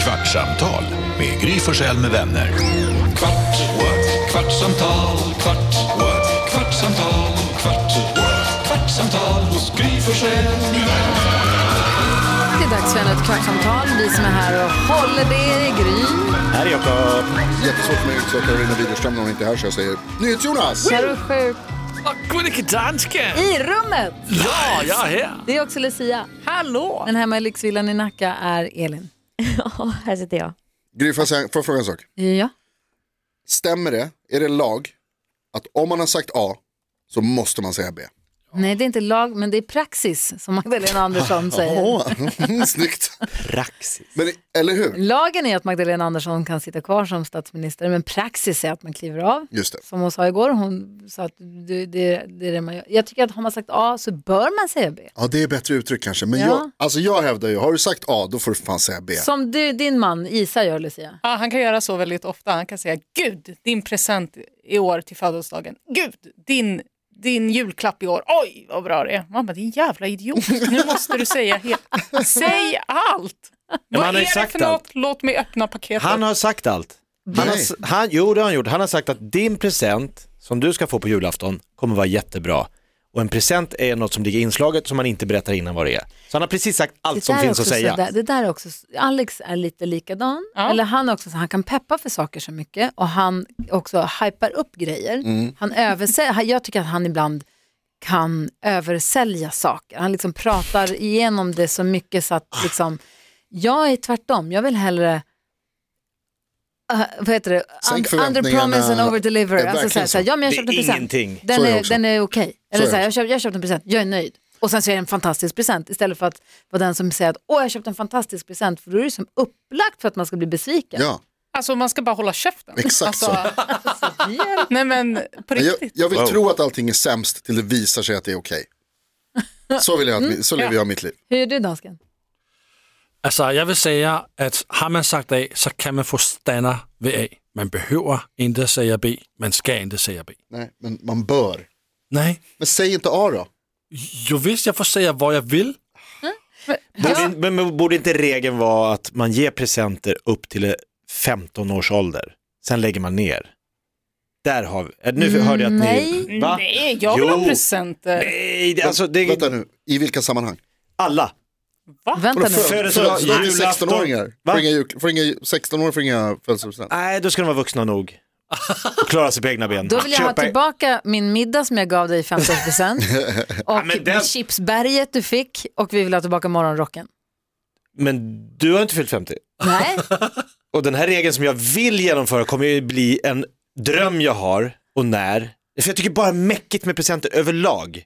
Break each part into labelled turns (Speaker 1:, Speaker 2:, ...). Speaker 1: Kvartsamtal med Gry Forssell med vänner. Kvart, what? kvartsamtal, kvart, what? kvartsamtal, kvart, what? kvartsamtal hos Gry Forssell med vänner.
Speaker 2: Det är dags för ännu ett kvartsamtal. Vi som är här och håller det, Gry,
Speaker 3: Här är Jakob.
Speaker 4: Jättesvårt för mig att utse Karolina Widerström när hon inte är här så jag säger NyhetsJonas!
Speaker 2: Sarusjuk,
Speaker 5: Gullige dansken!
Speaker 2: i rummet.
Speaker 5: Ja, jag är här.
Speaker 2: Det är också Lucia. Hallå! Men hemma i lyxvillan i Nacka är Elin.
Speaker 6: Ja, här sitter jag.
Speaker 4: Gry, får jag säga- får jag fråga en sak?
Speaker 2: Ja.
Speaker 4: Stämmer det, är det lag, att om man har sagt A så måste man säga B?
Speaker 2: Nej, det är inte lag, men det är praxis, som Magdalena Andersson säger.
Speaker 4: Åh, snyggt!
Speaker 3: Praxis.
Speaker 4: Men, eller hur?
Speaker 2: Lagen är att Magdalena Andersson kan sitta kvar som statsminister, men praxis är att man kliver av.
Speaker 4: Just det.
Speaker 2: Som hon sa igår, hon sa att det, det, det är det man gör. Jag tycker att har man sagt A så bör man säga B.
Speaker 4: Ja, det är bättre uttryck kanske. Men
Speaker 2: Ja.
Speaker 4: jag, alltså jag hävdar ju, har du sagt A då får du fan säga B.
Speaker 2: Som du, din man Isa gör, Lucia.
Speaker 7: Ja, han kan göra så väldigt ofta. Han kan säga Gud, din present i år till födelsedagen. Gud, din, din julklapp i år. Oj, vad bra det är. Man bara, din jävla idiot. Nu måste du säga helt. Säg allt.
Speaker 3: men
Speaker 7: vad
Speaker 3: han har
Speaker 7: är
Speaker 3: ju
Speaker 7: det
Speaker 3: sagt
Speaker 7: för något?
Speaker 3: allt.
Speaker 7: Låt mig öppna paketet.
Speaker 3: Han har sagt allt. Han har, s- han, jo, det har han gjort. Han har sagt att din present som du ska få på julafton kommer vara jättebra. Och en present är något som ligger i inslaget som man inte berättar innan vad det är. Så han har precis sagt allt som
Speaker 2: där
Speaker 3: finns
Speaker 2: är
Speaker 3: att
Speaker 2: också
Speaker 3: säga.
Speaker 2: så där- det där är också, Alex är lite likadan.
Speaker 7: Ja.
Speaker 2: Eller han, är också, så han kan peppa för saker så mycket och han också hypar upp grejer.
Speaker 4: Mm.
Speaker 2: Han översäljer, han- jag tycker att han ibland kan översälja saker. Han liksom pratar igenom det så mycket så att liksom, jag är tvärtom, jag vill hellre Uh, vad heter det?
Speaker 4: Sänk
Speaker 2: Und- Under promise and
Speaker 4: förväntningarna.
Speaker 2: over deliver.
Speaker 4: Det är
Speaker 2: Alltså, så här,
Speaker 4: verkligen
Speaker 2: så här, ja, men jag
Speaker 3: Det är
Speaker 2: köpte en present.
Speaker 3: ingenting.
Speaker 2: Den
Speaker 4: Så är
Speaker 2: är,
Speaker 4: det också.
Speaker 2: den är okej. Eller
Speaker 4: är
Speaker 2: så här,
Speaker 4: det
Speaker 2: jag, köpt, jag köpte en present, jag är nöjd. Och sen så är det en fantastisk present istället för att vara den som säger att åh jag köpte en fantastisk present för då är det som upplagt för att man ska bli besviken.
Speaker 4: Ja,
Speaker 7: Alltså man ska bara hålla käften.
Speaker 4: Exakt så.
Speaker 7: alltså,
Speaker 2: Hjälp.
Speaker 7: Nej men på
Speaker 4: men jag,
Speaker 7: riktigt.
Speaker 4: jag vill
Speaker 3: Wow.
Speaker 4: tro att allting är sämst till det visar sig att det är okej. Så, vill jag att, mi- så lever jag mitt liv.
Speaker 2: Hur gör du dansken?
Speaker 5: Altså, jeg vil sige, at har man sagt A, så kan man få stander ved A. Man behøver ikke at sige B. Man skal ikke sige B.
Speaker 4: Nej, men man bör.
Speaker 5: Nej.
Speaker 4: Men säg inte A då.
Speaker 5: Jo visst, jag får säga vad jag vill.
Speaker 3: Borde, in- men, men borde inte regeln vara att man ger presenter upp till eh, 15 års ålder? Sen lägger man ner. Där har vi, eh, nu hörde jag att ni...
Speaker 2: Mm, Nej.
Speaker 3: Va?
Speaker 7: Nej, jag vill
Speaker 3: Jo.
Speaker 7: ha presenter.
Speaker 3: Nej, det, alltså det
Speaker 4: Vänta
Speaker 3: är
Speaker 4: nu, i vilka sammanhang?
Speaker 3: alla.
Speaker 2: Vänta nu.
Speaker 3: för-
Speaker 4: Födelsedag,
Speaker 3: Födelsedag, julafton.
Speaker 4: 16-åringar.
Speaker 3: Va?
Speaker 4: Får inga jul- får inga- 16-åringar får inga födelsedagspresent.
Speaker 3: Nej, då ska de vara vuxna nog. Och klara sig på egna ben.
Speaker 2: Då vill jag ha
Speaker 3: Köpa-
Speaker 2: tillbaka min middag som jag gav dig i 15% och
Speaker 3: men den-
Speaker 2: chipsberget du fick och vi vill ha tillbaka morgonrocken.
Speaker 3: Men du har inte fyllt 50.
Speaker 2: Nej,
Speaker 3: Och den här regeln som jag vill genomföra kommer ju bli en dröm jag har och när. För jag tycker bara mäckigt med presenter överlag.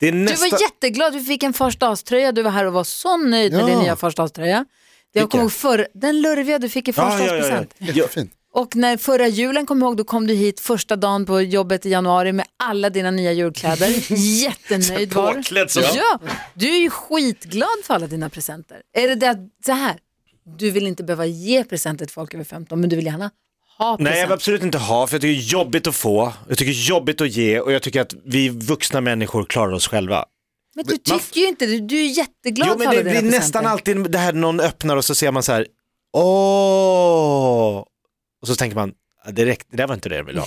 Speaker 3: Det är
Speaker 2: du
Speaker 3: nästa...
Speaker 2: var jätteglad, du fick en förstahdagströja, du var här och var så nöjd med
Speaker 4: Ja.
Speaker 2: din nya förstahdagströja. Jag
Speaker 3: Vilken?
Speaker 2: kommer ihåg förr, den lurviga du fick i förstahandspresent.
Speaker 4: Jättefint.
Speaker 2: Och när förra julen kom jag ihåg, då kom du hit första dagen på jobbet i januari med alla dina nya julkläder. Jättenöjd var du.
Speaker 3: Påklädd som-
Speaker 2: ja, Du är ju skitglad för alla dina presenter. Är det det att, så här, du vill inte behöva ge presenter till folk över 15, men du vill gärna ha presenter.
Speaker 3: Nej, jag vill absolut inte ha, för jag tycker det är jobbigt att få, jag tycker det är jobbigt att ge och jag tycker att vi vuxna människor klarar oss själva.
Speaker 2: men du
Speaker 3: man-
Speaker 2: tycker ju inte det, du är jätteglad
Speaker 3: Jo,
Speaker 2: för
Speaker 3: men
Speaker 2: alla
Speaker 3: det
Speaker 2: dina
Speaker 3: blir
Speaker 2: presenter.
Speaker 3: nästan alltid det här någon öppnar och så ser man så här, åh, och så tänker man, "Ah, det, räckte, det där var inte det jag ville ha.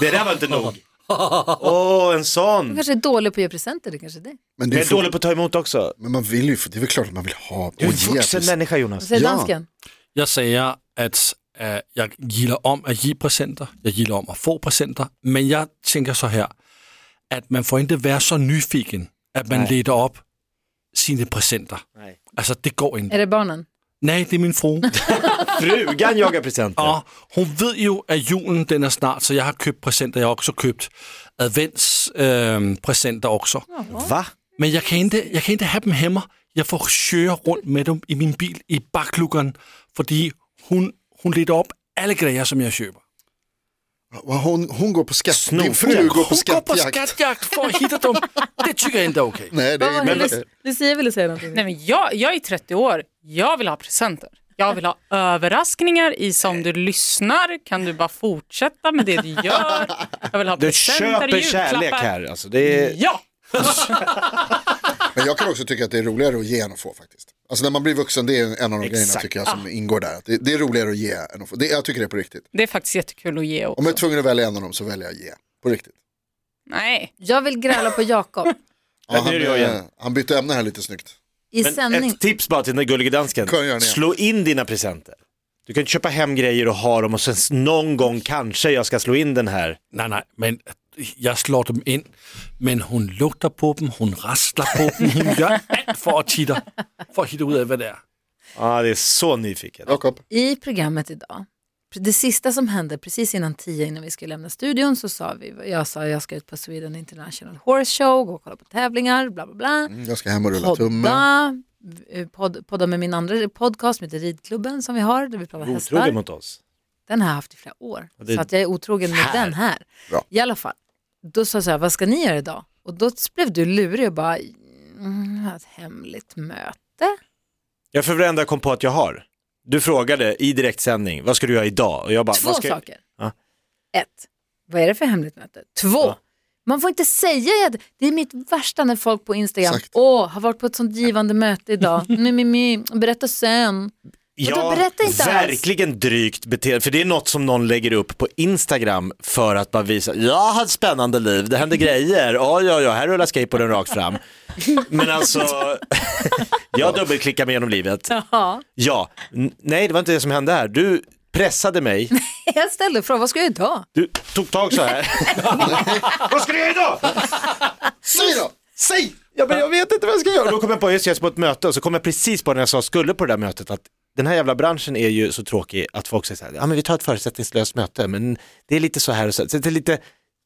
Speaker 3: det där var inte nog. Åh, en sån.
Speaker 2: Du
Speaker 3: Men
Speaker 2: kanske är dålig på att ge presenter, det kanske är det.
Speaker 4: Men, det
Speaker 3: jag
Speaker 4: är
Speaker 3: är
Speaker 4: ju
Speaker 3: dålig på att ta emot också.
Speaker 4: Men man vill ju, få- det är väl klart att man vill ha.
Speaker 3: Du är
Speaker 4: Åh,
Speaker 3: en vuxen
Speaker 4: Jesus.
Speaker 3: människa Jonas.
Speaker 2: Vad säger
Speaker 4: Ja.
Speaker 2: dansken?
Speaker 5: Jeg siger, at øh, jeg gilder om at give presenter. Jeg gilder om at få presenter. Men jeg tænker så her, at man får ikke være så nyfiken, at man
Speaker 3: Nej.
Speaker 5: leder op sine presenter.
Speaker 3: Nej.
Speaker 5: Altså, det går ikke.
Speaker 2: Är det barnen?
Speaker 5: Nej, det er min frue.
Speaker 3: Frugan jagar presenter.
Speaker 5: Ja, hun ved jo, at julen den er snart, så jeg har købt præsenter. Jeg har også købt adventspræsenter også.
Speaker 3: Va?
Speaker 5: Men jeg kan, ikke, jeg kan ikke have dem hjemme. Jeg får køre rundt med dem i min bil i baklukkeren, fordi hun, hun leder op alle grejer, som jeg køber.
Speaker 4: Hon, hon går på skatt. Din
Speaker 3: Snokjakt.
Speaker 4: fru går på
Speaker 5: Hun går på
Speaker 4: skattjakt.
Speaker 5: skatjakt for at hitte dem. Det tycker jeg ikke er okay.
Speaker 4: Nej, det
Speaker 2: Vad
Speaker 4: är
Speaker 2: var det
Speaker 4: men,
Speaker 2: Lu- Lucia ville säga någonting.
Speaker 7: Nej, men jag, jag är 30 år. Jag vill ha presenter. Jag vill ha överraskningar i som du lyssnar. Kan du bara fortsätta med det du gör? Jag vill ha
Speaker 3: Du
Speaker 7: presenter,
Speaker 3: köper kärlek
Speaker 7: julklappar.
Speaker 3: här. Alltså, det är...
Speaker 7: Ja,
Speaker 4: men jag kan också tycka att det är roligare att ge än att få faktiskt. Alltså när man blir vuxen, det är en av de grejerna
Speaker 3: Exakt. Ah.
Speaker 4: tycker jag som ingår där. Det, det är roligare att ge än att få. Det, jag tycker det är på riktigt.
Speaker 7: Det är faktiskt jättekul att ge
Speaker 4: Om
Speaker 7: också.
Speaker 4: jag är tvungen att välja en av dem så väljer jag ge. På riktigt.
Speaker 7: Nej,
Speaker 2: Jag vill gräla på Jakob
Speaker 3: Ja,
Speaker 4: han,
Speaker 3: nu är det jag
Speaker 4: eh,
Speaker 3: igen.
Speaker 4: han bytte ämne här lite snyggt.
Speaker 2: i
Speaker 3: Men
Speaker 2: sändning.
Speaker 3: ett tips bara till den där gullige dansken.
Speaker 4: Kan jag göra det?
Speaker 3: Slå in dina presenter. Du kan köpa hem grejer och ha dem och sen s- någon gång kanske jag ska slå in den här.
Speaker 5: Nej, nej, men jag slår dem in. Men hon luktar på dem, hon rasslar på dem, hon gör allt för att titta, för att hitta ut av vad det är.
Speaker 3: Ja, det är så nyfiken.
Speaker 4: Jakob,
Speaker 2: I programmet idag, det sista som hände precis innan tio innan vi skulle lämna studion så sa vi, jag sa jag ska ut på Sweden International Horse Show, gå och kolla på tävlingar, bla bla
Speaker 3: Mm,
Speaker 2: bla.
Speaker 4: jag ska hem och rulla tummen.
Speaker 2: Podda, eh, podd, podda med min andra podcast som heter Ridklubben som vi har, där vi pratar hästar.
Speaker 3: Otrogen mot oss.
Speaker 2: Den har jag haft i flera år.
Speaker 3: det-
Speaker 2: Så att jag är otrogen med
Speaker 3: Här.
Speaker 2: den här.
Speaker 4: Bra.
Speaker 2: I alla fall. Då sa jag så här, vad ska ni göra idag? Och då blev du lurig och bara, mm, jag har ett hemligt möte.
Speaker 3: Jag för varenda jag kom på att jag har. Du frågade i direktsändning, vad ska du göra idag? Och jag bara,
Speaker 2: Två
Speaker 3: vad ska jag-
Speaker 2: saker.
Speaker 3: Ja.
Speaker 2: Ett, vad är det för hemligt möte? Två,
Speaker 3: Ja.
Speaker 2: man får inte säga att det är mitt värsta när folk på Instagram,
Speaker 4: Exakt.
Speaker 2: åh, har varit på ett sånt givande möte idag, mi, mi, mi. berätta sen. Och då berätta inte alls.
Speaker 3: verkligen drygt beteende. För det är något som någon lägger upp på Instagram för att bara visa, jag hade ett spännande liv, det hände grejer, oj oj oj, här rullar skateboarden rakt fram. Men alltså, jag dubbelklickar mig genom livet.
Speaker 2: Ja.
Speaker 3: Ja, N- nej det var inte det som hände här, du pressade mig,
Speaker 2: Jag ställde frågan, vad ska jag göra idag?
Speaker 3: du tog tag så här. Vad ska du göra idag?
Speaker 4: Säg då!
Speaker 3: Säg! Ja, men jag vet inte vad jag ska göra. Och Då kom jag på, just det, jag ska på ett möte och så kom jag precis på när jag sa skulle på det där mötet att den här jävla branschen är ju så tråkig att folk säger så här, ja men vi tar ett förutsättningslöst möte, men det är lite så här och så, här." så det är lite,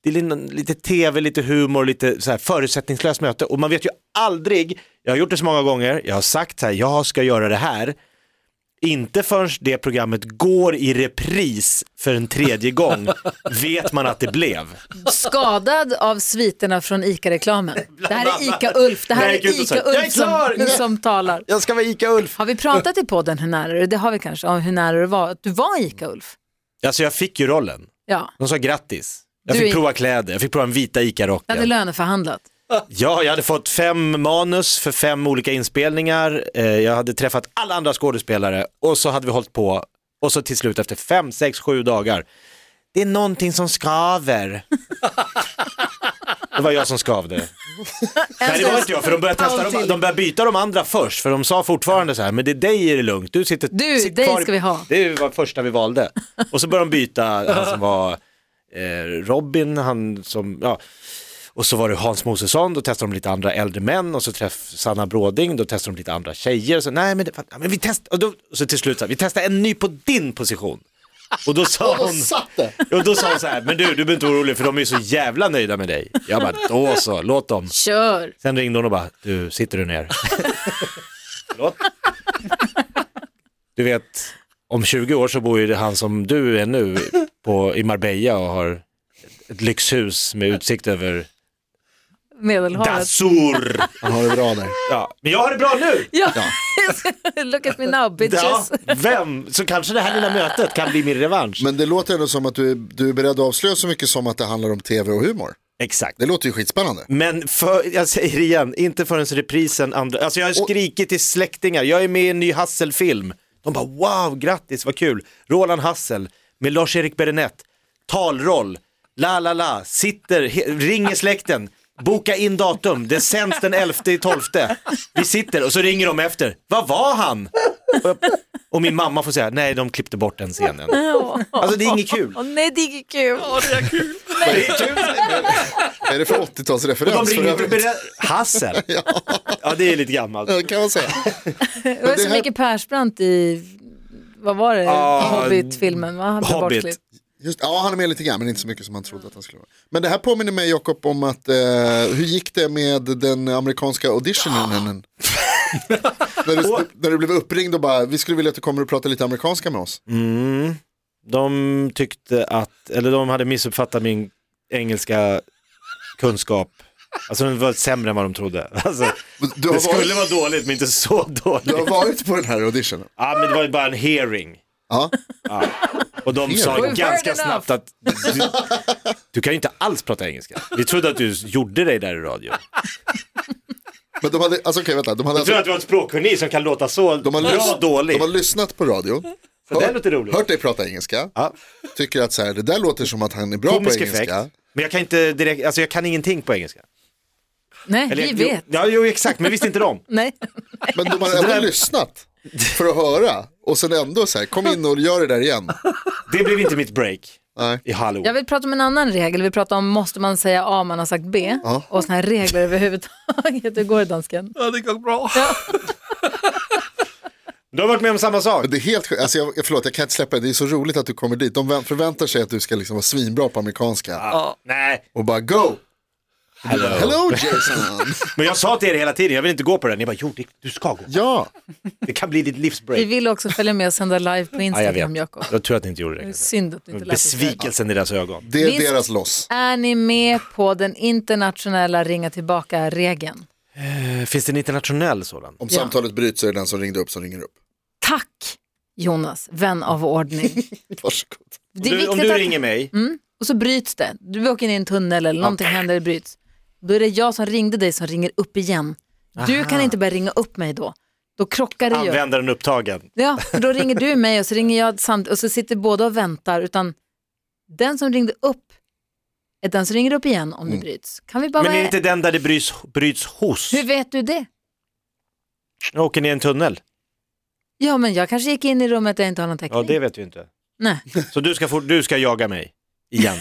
Speaker 3: det är lite, lite tv, lite humor, lite så här förutsättningslöst möte och man vet ju aldrig, jag har gjort det så många gånger, jag har sagt så här, jag ska göra det här, inte förrän det programmet går i repris för en tredje gång vet man att det blev.
Speaker 2: skadad av sviterna från ICA-reklamen. Det här är ICA-Ulf, det här
Speaker 3: Jag
Speaker 2: är
Speaker 3: gick ut och sa, "Jag är
Speaker 2: ICA-Ulf som,
Speaker 3: klar!"
Speaker 2: som talar.
Speaker 3: Jag ska vara Ica-Ulf.
Speaker 2: Har vi pratat i podden hur nära det, det har vi kanske, om hur nära det var att du var ICA-Ulf?
Speaker 3: Alltså jag fick ju rollen.
Speaker 2: Ja,
Speaker 3: De sa grattis. Jag
Speaker 2: Du
Speaker 3: fick
Speaker 2: är-
Speaker 3: prova kläder, jag fick prova den
Speaker 2: du
Speaker 3: vita
Speaker 2: hade
Speaker 3: ICA-rocken.
Speaker 2: löneförhandlat.
Speaker 3: Ja, jag hade fått fem manus för fem olika inspelningar, Eh, jag hade träffat alla andra skådespelare och så hade vi hållit på och så till slut efter fem, sex, sju dagar, det är någonting som skaver. Det var jag som skavde. Nej det var inte jag för de började, testa, de, de började byta de andra först för de sa fortfarande så här, men det är dig är det lugnt, du sitter
Speaker 2: Du,
Speaker 3: sitt
Speaker 2: dig
Speaker 3: kvar i-
Speaker 2: ska vi ha.
Speaker 3: Det var första vi valde. Och så började de byta han som var eh, Robin, han som, ja. Och så var det Hans Mosesson, då testade de lite andra äldre män och så träffade Sanna Bråding, då testade de lite andra tjejer. Så, nej men, det, ja, men vi testar, och då, och så till slut så här, vi testar en ny på din position. Och då sa
Speaker 4: Och
Speaker 3: hon,
Speaker 4: satt det!
Speaker 3: och då sa hon så här, men du, du behöver inte vara orolig för de är ju så jävla nöjda med dig. Jag bara, då så, låt dem.
Speaker 2: Kör!
Speaker 3: Sen ringde hon och bara, du, sitter du ner? Förlåt? Du vet, om 20 år så bor ju han som du är nu på, i Marbella och har ett- ett lyxhus med utsikt över
Speaker 2: Medelhavet.
Speaker 3: Dazur.
Speaker 4: Han har det bra där.
Speaker 3: Ja, men jag har det bra nu!
Speaker 2: Ja. Look at me now
Speaker 3: Ja,
Speaker 2: bitches.
Speaker 3: vem? Så kanske det här lilla mötet kan bli min revansch.
Speaker 4: Men det låter ändå som att du, är- du är beredd att avslöja så mycket som att det handlar om tv och humor.
Speaker 3: Exakt.
Speaker 4: Det låter ju skitspännande.
Speaker 3: Men för, jag säger det igen, inte förrän reprisen andra, alltså jag har skrikit till släktingar, jag är med i en ny Hassel-film. De bara wow, grattis, vad kul. Roland Hassel med Lars-Erik Berenett, talroll, la la la, sitter, he, ringer släkten, boka in datum, det sänds den 11 i 12. Vi sitter och så ringer de efter, vad var han? Och, jag, och min mamma får säga, nej de klippte bort den scenen. Alltså det är inget kul.
Speaker 2: Åh nej det är inget kul.
Speaker 3: Det är kul.
Speaker 4: Är det för 80-talsreferens?
Speaker 3: De
Speaker 4: för
Speaker 3: ringer för
Speaker 4: övrigt?
Speaker 3: Beren- Hassel. Ja det är lite gammalt.
Speaker 4: Ja, det kan man säga.
Speaker 2: Det var
Speaker 4: det
Speaker 2: så
Speaker 4: här-
Speaker 2: mycket Persbrandt i, vad var det,
Speaker 3: Ah,
Speaker 2: Hobbit-filmen? va? Han blev
Speaker 3: Hobbit.
Speaker 2: bortklippt.
Speaker 4: Just, ja, han är med lite grann, men inte så mycket som han trodde att han skulle vara. Men det här påminner mig, Jakob, om att eh, hur gick det med den amerikanska auditionen? när, du, när du blev uppringd och bara, vi skulle vilja att du kommer och pratar lite amerikanska med oss.
Speaker 3: Mm. De tyckte att, eller de hade missuppfattat min engelska kunskap. Alltså den var sämre än vad de trodde. Alltså,
Speaker 4: Du har,
Speaker 3: det skulle
Speaker 4: varit,
Speaker 3: vara dåligt men inte så
Speaker 4: du
Speaker 3: dåligt.
Speaker 4: har varit på den här auditionen.
Speaker 3: Ja men det var ju bara en hearing.
Speaker 4: Ja.
Speaker 3: Och de sa
Speaker 4: We've
Speaker 2: heard
Speaker 3: ganska
Speaker 2: enough.
Speaker 3: snabbt att du, du kan ju inte alls prata engelska. Vi trodde att du gjorde dig där i radio.
Speaker 4: Men de hade, alltså okej vänta, de hade,
Speaker 8: Jag tror
Speaker 4: alltså,
Speaker 8: att du har en språkkunnig som kan låta så
Speaker 4: de har,
Speaker 8: bra
Speaker 4: lys-
Speaker 8: dålig.
Speaker 4: de har lyssnat på radio,
Speaker 8: Så det låter roligt.
Speaker 4: hört dig prata engelska,
Speaker 3: Ja.
Speaker 4: tycker att så här, det där låter som att han är bra
Speaker 3: Komisk
Speaker 4: på engelska.
Speaker 3: effekt. Men jag kan inte direkt, alltså jag kan ingenting på engelska.
Speaker 2: Nej,
Speaker 3: Eller-
Speaker 2: vi vet.
Speaker 3: Jo, ja, jo, exakt, men visste inte de.
Speaker 2: Nej.
Speaker 4: Men de har ändå lyssnat för att höra och sen ändå så här, kom in och gör det där igen.
Speaker 3: Det blev inte mitt break
Speaker 4: Nej.
Speaker 3: i Hollywood.
Speaker 2: Jag vill prata om en annan regel. Vi pratar om måste man säga A om man har sagt B.
Speaker 4: Ja.
Speaker 2: Och såna här regler överhuvudtaget. Hur går det dansken?
Speaker 5: Ja, det går bra.
Speaker 3: Du har varit med om samma sak.
Speaker 4: Men det är helt sjukt. alltså jag, förlåt jag kan inte släppa det, det är så roligt att du kommer dit. De vä- förväntar sig att du ska liksom vara svinbra på amerikanska
Speaker 3: Nej,
Speaker 4: och bara go. Hello, Hello Jason.
Speaker 3: men jag sa till er hela tiden, jag vill inte gå på den. Ni bara, jo, det, du ska gå.
Speaker 4: ja,
Speaker 3: Det kan bli ditt
Speaker 2: Vi
Speaker 3: livsbreak.
Speaker 2: vill också följa med och sända live på
Speaker 3: Ja, jag
Speaker 2: Instagram,
Speaker 3: vet.
Speaker 2: Jakob.
Speaker 3: Jag tror att ni inte gjorde det.
Speaker 2: Det är
Speaker 3: kanske.
Speaker 2: Synd att du inte lät oss göra det.
Speaker 3: Besvikelsen i deras ögon.
Speaker 4: det är
Speaker 2: Visst.
Speaker 4: deras loss.
Speaker 2: Är ni med på den internationella ringa tillbaka-regeln?
Speaker 3: Eh, Finns det en internationell sådan?
Speaker 4: Om
Speaker 2: Ja.
Speaker 4: samtalet bryts så är det den som ringde upp som ringer upp.
Speaker 2: Tack Jonas, vän av ordning.
Speaker 4: Varsågod.
Speaker 2: Det är
Speaker 3: Du, om
Speaker 2: viktigt
Speaker 3: du
Speaker 2: att... Mm,
Speaker 3: ringer mig,
Speaker 2: Och så bryts det. Du åker in i en tunnel eller någonting händer, det bryts. Då är det jag som ringde dig som ringer upp igen. Du kan inte börja ringa upp mig då. Då krockar det ju.
Speaker 3: använder den upptagen.
Speaker 2: Ja, för då ringer du mig och så ringer jag samt och så sitter båda och väntar. Utan den som ringde upp är den som ringer upp igen om det bryts. Kan vi bara
Speaker 3: Mm. Men är
Speaker 2: vara...
Speaker 3: det inte den där det bryts, bryts hos?
Speaker 2: Hur vet du det?
Speaker 3: Jag åker ner i en tunnel.
Speaker 2: Ja, men jag kanske gick in i rummet där jag inte har någon täckning.
Speaker 3: Ja, det vet vi inte.
Speaker 2: Nej.
Speaker 3: Så du ska, få, du ska jaga mig igen.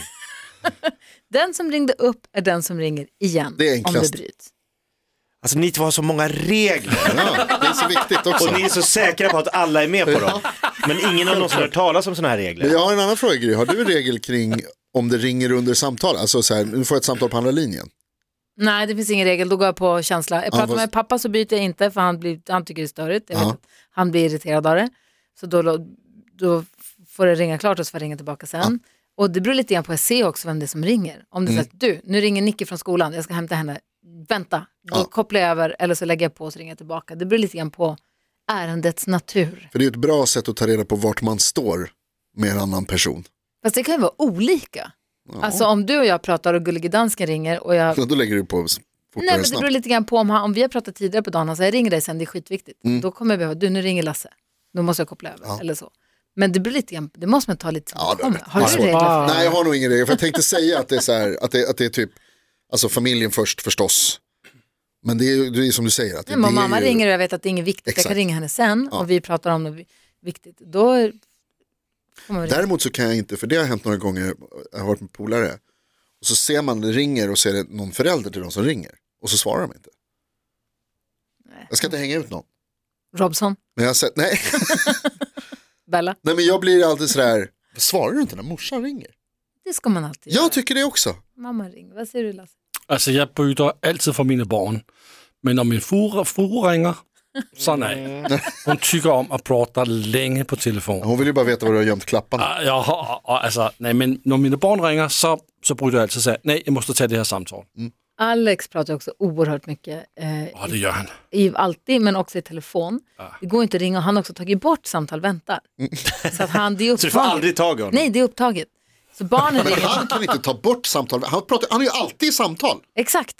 Speaker 2: Den som ringde upp är den som ringer igen
Speaker 4: Det är
Speaker 2: om det
Speaker 4: enklast.
Speaker 2: bryts.
Speaker 3: Alltså ni två har så många regler
Speaker 4: Ja, det är så viktigt också.
Speaker 3: och ni är så säkra på att alla är med på dem. Men ingen har någonsin hört talas om sådana här
Speaker 4: Men
Speaker 3: regler.
Speaker 4: jag har en annan fråga Gry, har du en regel kring om det ringer under samtal? Alltså så här, nu får jag ett samtal på andra linjen.
Speaker 2: Nej, det finns ingen regel. Då går jag på känsla. Jag
Speaker 4: Ja,
Speaker 2: pratar
Speaker 4: fast-
Speaker 2: med pappa så byter jag inte för han, blir, han tycker det är störigt. Jag vet
Speaker 4: Ja.
Speaker 2: att han blir irriterad av det. Så då, lå- då får det ringa klart och så får jag ringa tillbaka sen. Och det beror lite grann på, jag ser också vem det är som ringer. Om det är
Speaker 4: Mm.
Speaker 2: så att du, nu ringer Nicky från skolan, jag ska hämta henne. Vänta, då
Speaker 4: Ja.
Speaker 2: kopplar jag över eller så lägger jag på och så ringer jag tillbaka. Det beror lite grann på ärendets natur.
Speaker 4: För det är ju ett bra sätt att ta reda på vart man står med en annan person.
Speaker 2: Fast det kan ju vara olika. Alltså om du och jag pratar och Gullige Dansken ringer och jag
Speaker 4: Så Då lägger du på
Speaker 2: Nej, men
Speaker 4: fortare
Speaker 2: det beror
Speaker 4: snabbt.
Speaker 2: lite grann på om, han, om vi har pratat tidigare på dagen, han säger jag ringer dig sen, det är skitviktigt.
Speaker 4: Mm.
Speaker 2: Då kommer jag behöva, du nu ringer Lasse, då måste jag koppla över eller så. Men det beror lite grann, det måste man ta lite
Speaker 4: Ja, det
Speaker 2: om.
Speaker 4: vet
Speaker 2: Har
Speaker 4: man.
Speaker 2: du regler? för det?
Speaker 4: Nej, jag har nog ingen regel. För jag tänkte säga att det är så här, att det, att det är typ, alltså familjen först förstås. Men det är ju det är som du säger. Att det,
Speaker 2: Nej, men om
Speaker 4: det är
Speaker 2: mamma
Speaker 4: ju,
Speaker 2: ringer och jag vet att det är inget viktigt, jag
Speaker 4: Exakt.
Speaker 2: kan ringa henne sen
Speaker 4: Ja.
Speaker 2: och vi pratar om något viktigt, då får man väl ringa.
Speaker 4: Däremot så kan jag inte, för det har hänt några gånger, jag har varit med polare. Och så ser man, det ringer och ser det någon förälder till de som ringer. Och så svarar de inte. Jag ska inte hänga ut någon.
Speaker 2: Robson,
Speaker 4: Men jag har sett, nej.
Speaker 2: Bella,
Speaker 4: nej men jag blir alltid sådär, svarar du inte när morsan ringer?
Speaker 2: det ska man alltid göra.
Speaker 4: Jag tycker det också.
Speaker 2: Mamma ringer, vad säger du Lasse?
Speaker 5: Altså, jeg bytter altid for mine barn. Men når min fru, fru ringer, så nej. Hun tykker om at prate længe på telefon.
Speaker 4: Hon vill ju bara veta var du har gömt klapparna.
Speaker 5: Ah, Jeg har, og, altså, nej, men når mine barn ringer, så, så bryter jeg altid sig. Nej, jeg måste tage det her samtale.
Speaker 2: Alex pratar också oerhört mycket eh,
Speaker 5: Åh, det gør han.
Speaker 2: i, alltid, men också i telefon. Det går inte att ringa och han har också tagit bort samtal väntar.
Speaker 4: Mm.
Speaker 2: Så att han, det är
Speaker 3: Så du får
Speaker 2: upptaget.
Speaker 3: aldrig tag i honom.
Speaker 2: Nej, det är upptaget. Så barnen
Speaker 4: Men
Speaker 2: ringer.
Speaker 4: han kan inte ta bort samtal. Han, pratar, han är ju alltid i samtal.
Speaker 2: Exakt.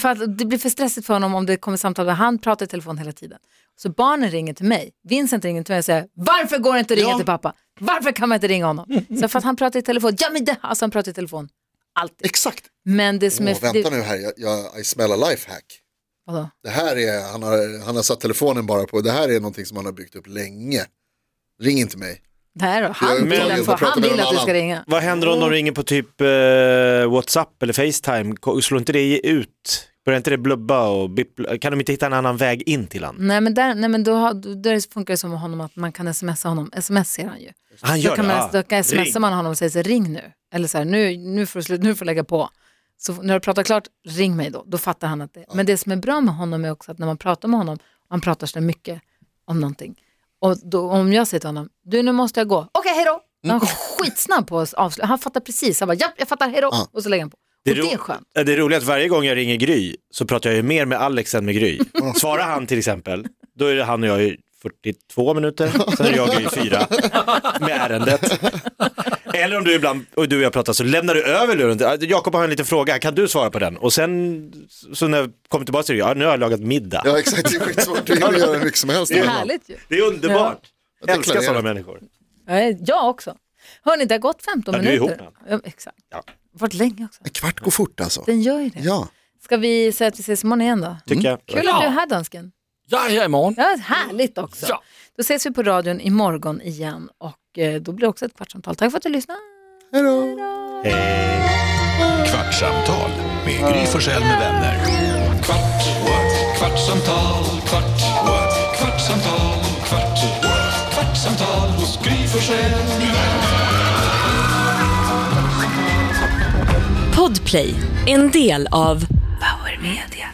Speaker 2: För att det blir för stressigt för honom om det kommer samtal där han pratar i telefon hela tiden. Så barnen ringer till mig. Vincent ringer till mig och säger, varför går det inte att ringa
Speaker 4: Ja. Mm.
Speaker 2: till pappa? Varför kan man inte ringa honom? Så för att han pratar i telefon. Ja, men det, alltså han pratar i telefon. Alltid.
Speaker 4: Exakt.
Speaker 2: Men det som
Speaker 4: Åh,
Speaker 2: är...
Speaker 4: vänta
Speaker 2: det,
Speaker 4: nu här, jag, jag, I smell a lifehack.
Speaker 2: vadå?
Speaker 4: Det här är, han har, han har satt telefonen bara på, det här är någonting som han har byggt upp länge. Ring inte mig.
Speaker 2: Nej då,
Speaker 4: Jag
Speaker 2: han
Speaker 4: vill-
Speaker 2: vill,
Speaker 4: jag
Speaker 2: att,
Speaker 4: vill
Speaker 2: få-
Speaker 4: prata
Speaker 2: han
Speaker 4: med
Speaker 2: vill
Speaker 4: någon
Speaker 2: att du ska
Speaker 4: annan.
Speaker 2: ringa.
Speaker 3: Vad händer om de ringer på typ eh, WhatsApp eller Facetime? Ko- Slår inte det ut? Börjar inte det blubba och bippla? Kan de inte hitta en annan väg in till han?
Speaker 2: Nej men, där, nej, men då, har- då där funkar det som med honom att man kan smsa honom. Sms ser han ju.
Speaker 3: Han
Speaker 2: Då
Speaker 3: gör
Speaker 2: kan
Speaker 3: det? Ah.
Speaker 2: man, då kan
Speaker 3: Ring.
Speaker 2: smsar man honom och säger så här, ring nu. Eller så här, nu, nu får du slut, nu får du lägga på. Så när du pratar klart, ring mig då. Då fattar han att det. Men det som är bra med honom är också att när man pratar med honom, han pratar så mycket om någonting. Och då, om jag säger till honom, du nu måste jag gå, okej hej då.
Speaker 3: Mm.
Speaker 2: Då är Han är skitsnabb på att avsluta, han fattar precis, han bara, japp jag fattar, hej då.
Speaker 4: Ja.
Speaker 2: Och så lägger han på.
Speaker 3: Det är
Speaker 2: och det är
Speaker 3: ro-
Speaker 2: skönt.
Speaker 3: Ja, Det är roligt att varje gång jag ringer Gry så pratar jag ju mer med Alex än med Gry. Svarar han till exempel, då är det han och jag i 42 minuter, sen är jag och Gry i 4 med ärendet. Eller om du ibland, och du och jag pratar, så lämnar du över luren. till- "Ah, Jakob har en liten fråga, kan du svara på den? Och sen, så när jag kommer tillbaka till det, ja nu har jag lagat middag.
Speaker 4: Ja exakt, det är skitsvårt. Du hinner göra hur mycket som helst.
Speaker 2: Det är härligt ju.
Speaker 3: Det är underbart.
Speaker 4: Jag
Speaker 3: Älskar
Speaker 4: deklarerar.
Speaker 3: sådana människor.
Speaker 2: Nej, Jag också. Hörni, det har gått 15
Speaker 3: Ja, du är
Speaker 2: minuter.
Speaker 3: ihop
Speaker 2: Ja, exakt.
Speaker 3: Ja.
Speaker 2: Varit länge också.
Speaker 4: En kvart går fort alltså.
Speaker 2: Den gör ju det.
Speaker 4: Ja,
Speaker 2: Ska vi säga att vi ses imorgon igen då?
Speaker 3: Tycker jag.
Speaker 2: Kul att du är här dansken.
Speaker 5: Jag är här imorgon.
Speaker 2: Ja, härligt också.
Speaker 5: Ja.
Speaker 2: Då ses vi på radion imorgon igen och eh, då blir det också ett kvartsamtal. Tack för att du lyssnade.
Speaker 4: hej då.
Speaker 1: Kvartsamtal med Gry Forssell med vänner. Kvart, what? kvartsamtal, kvart, what? kvartsamtal, kvart, what? kvartsamtal hos Gry Forssell med vänner.
Speaker 9: Podplay, en del av Power Media.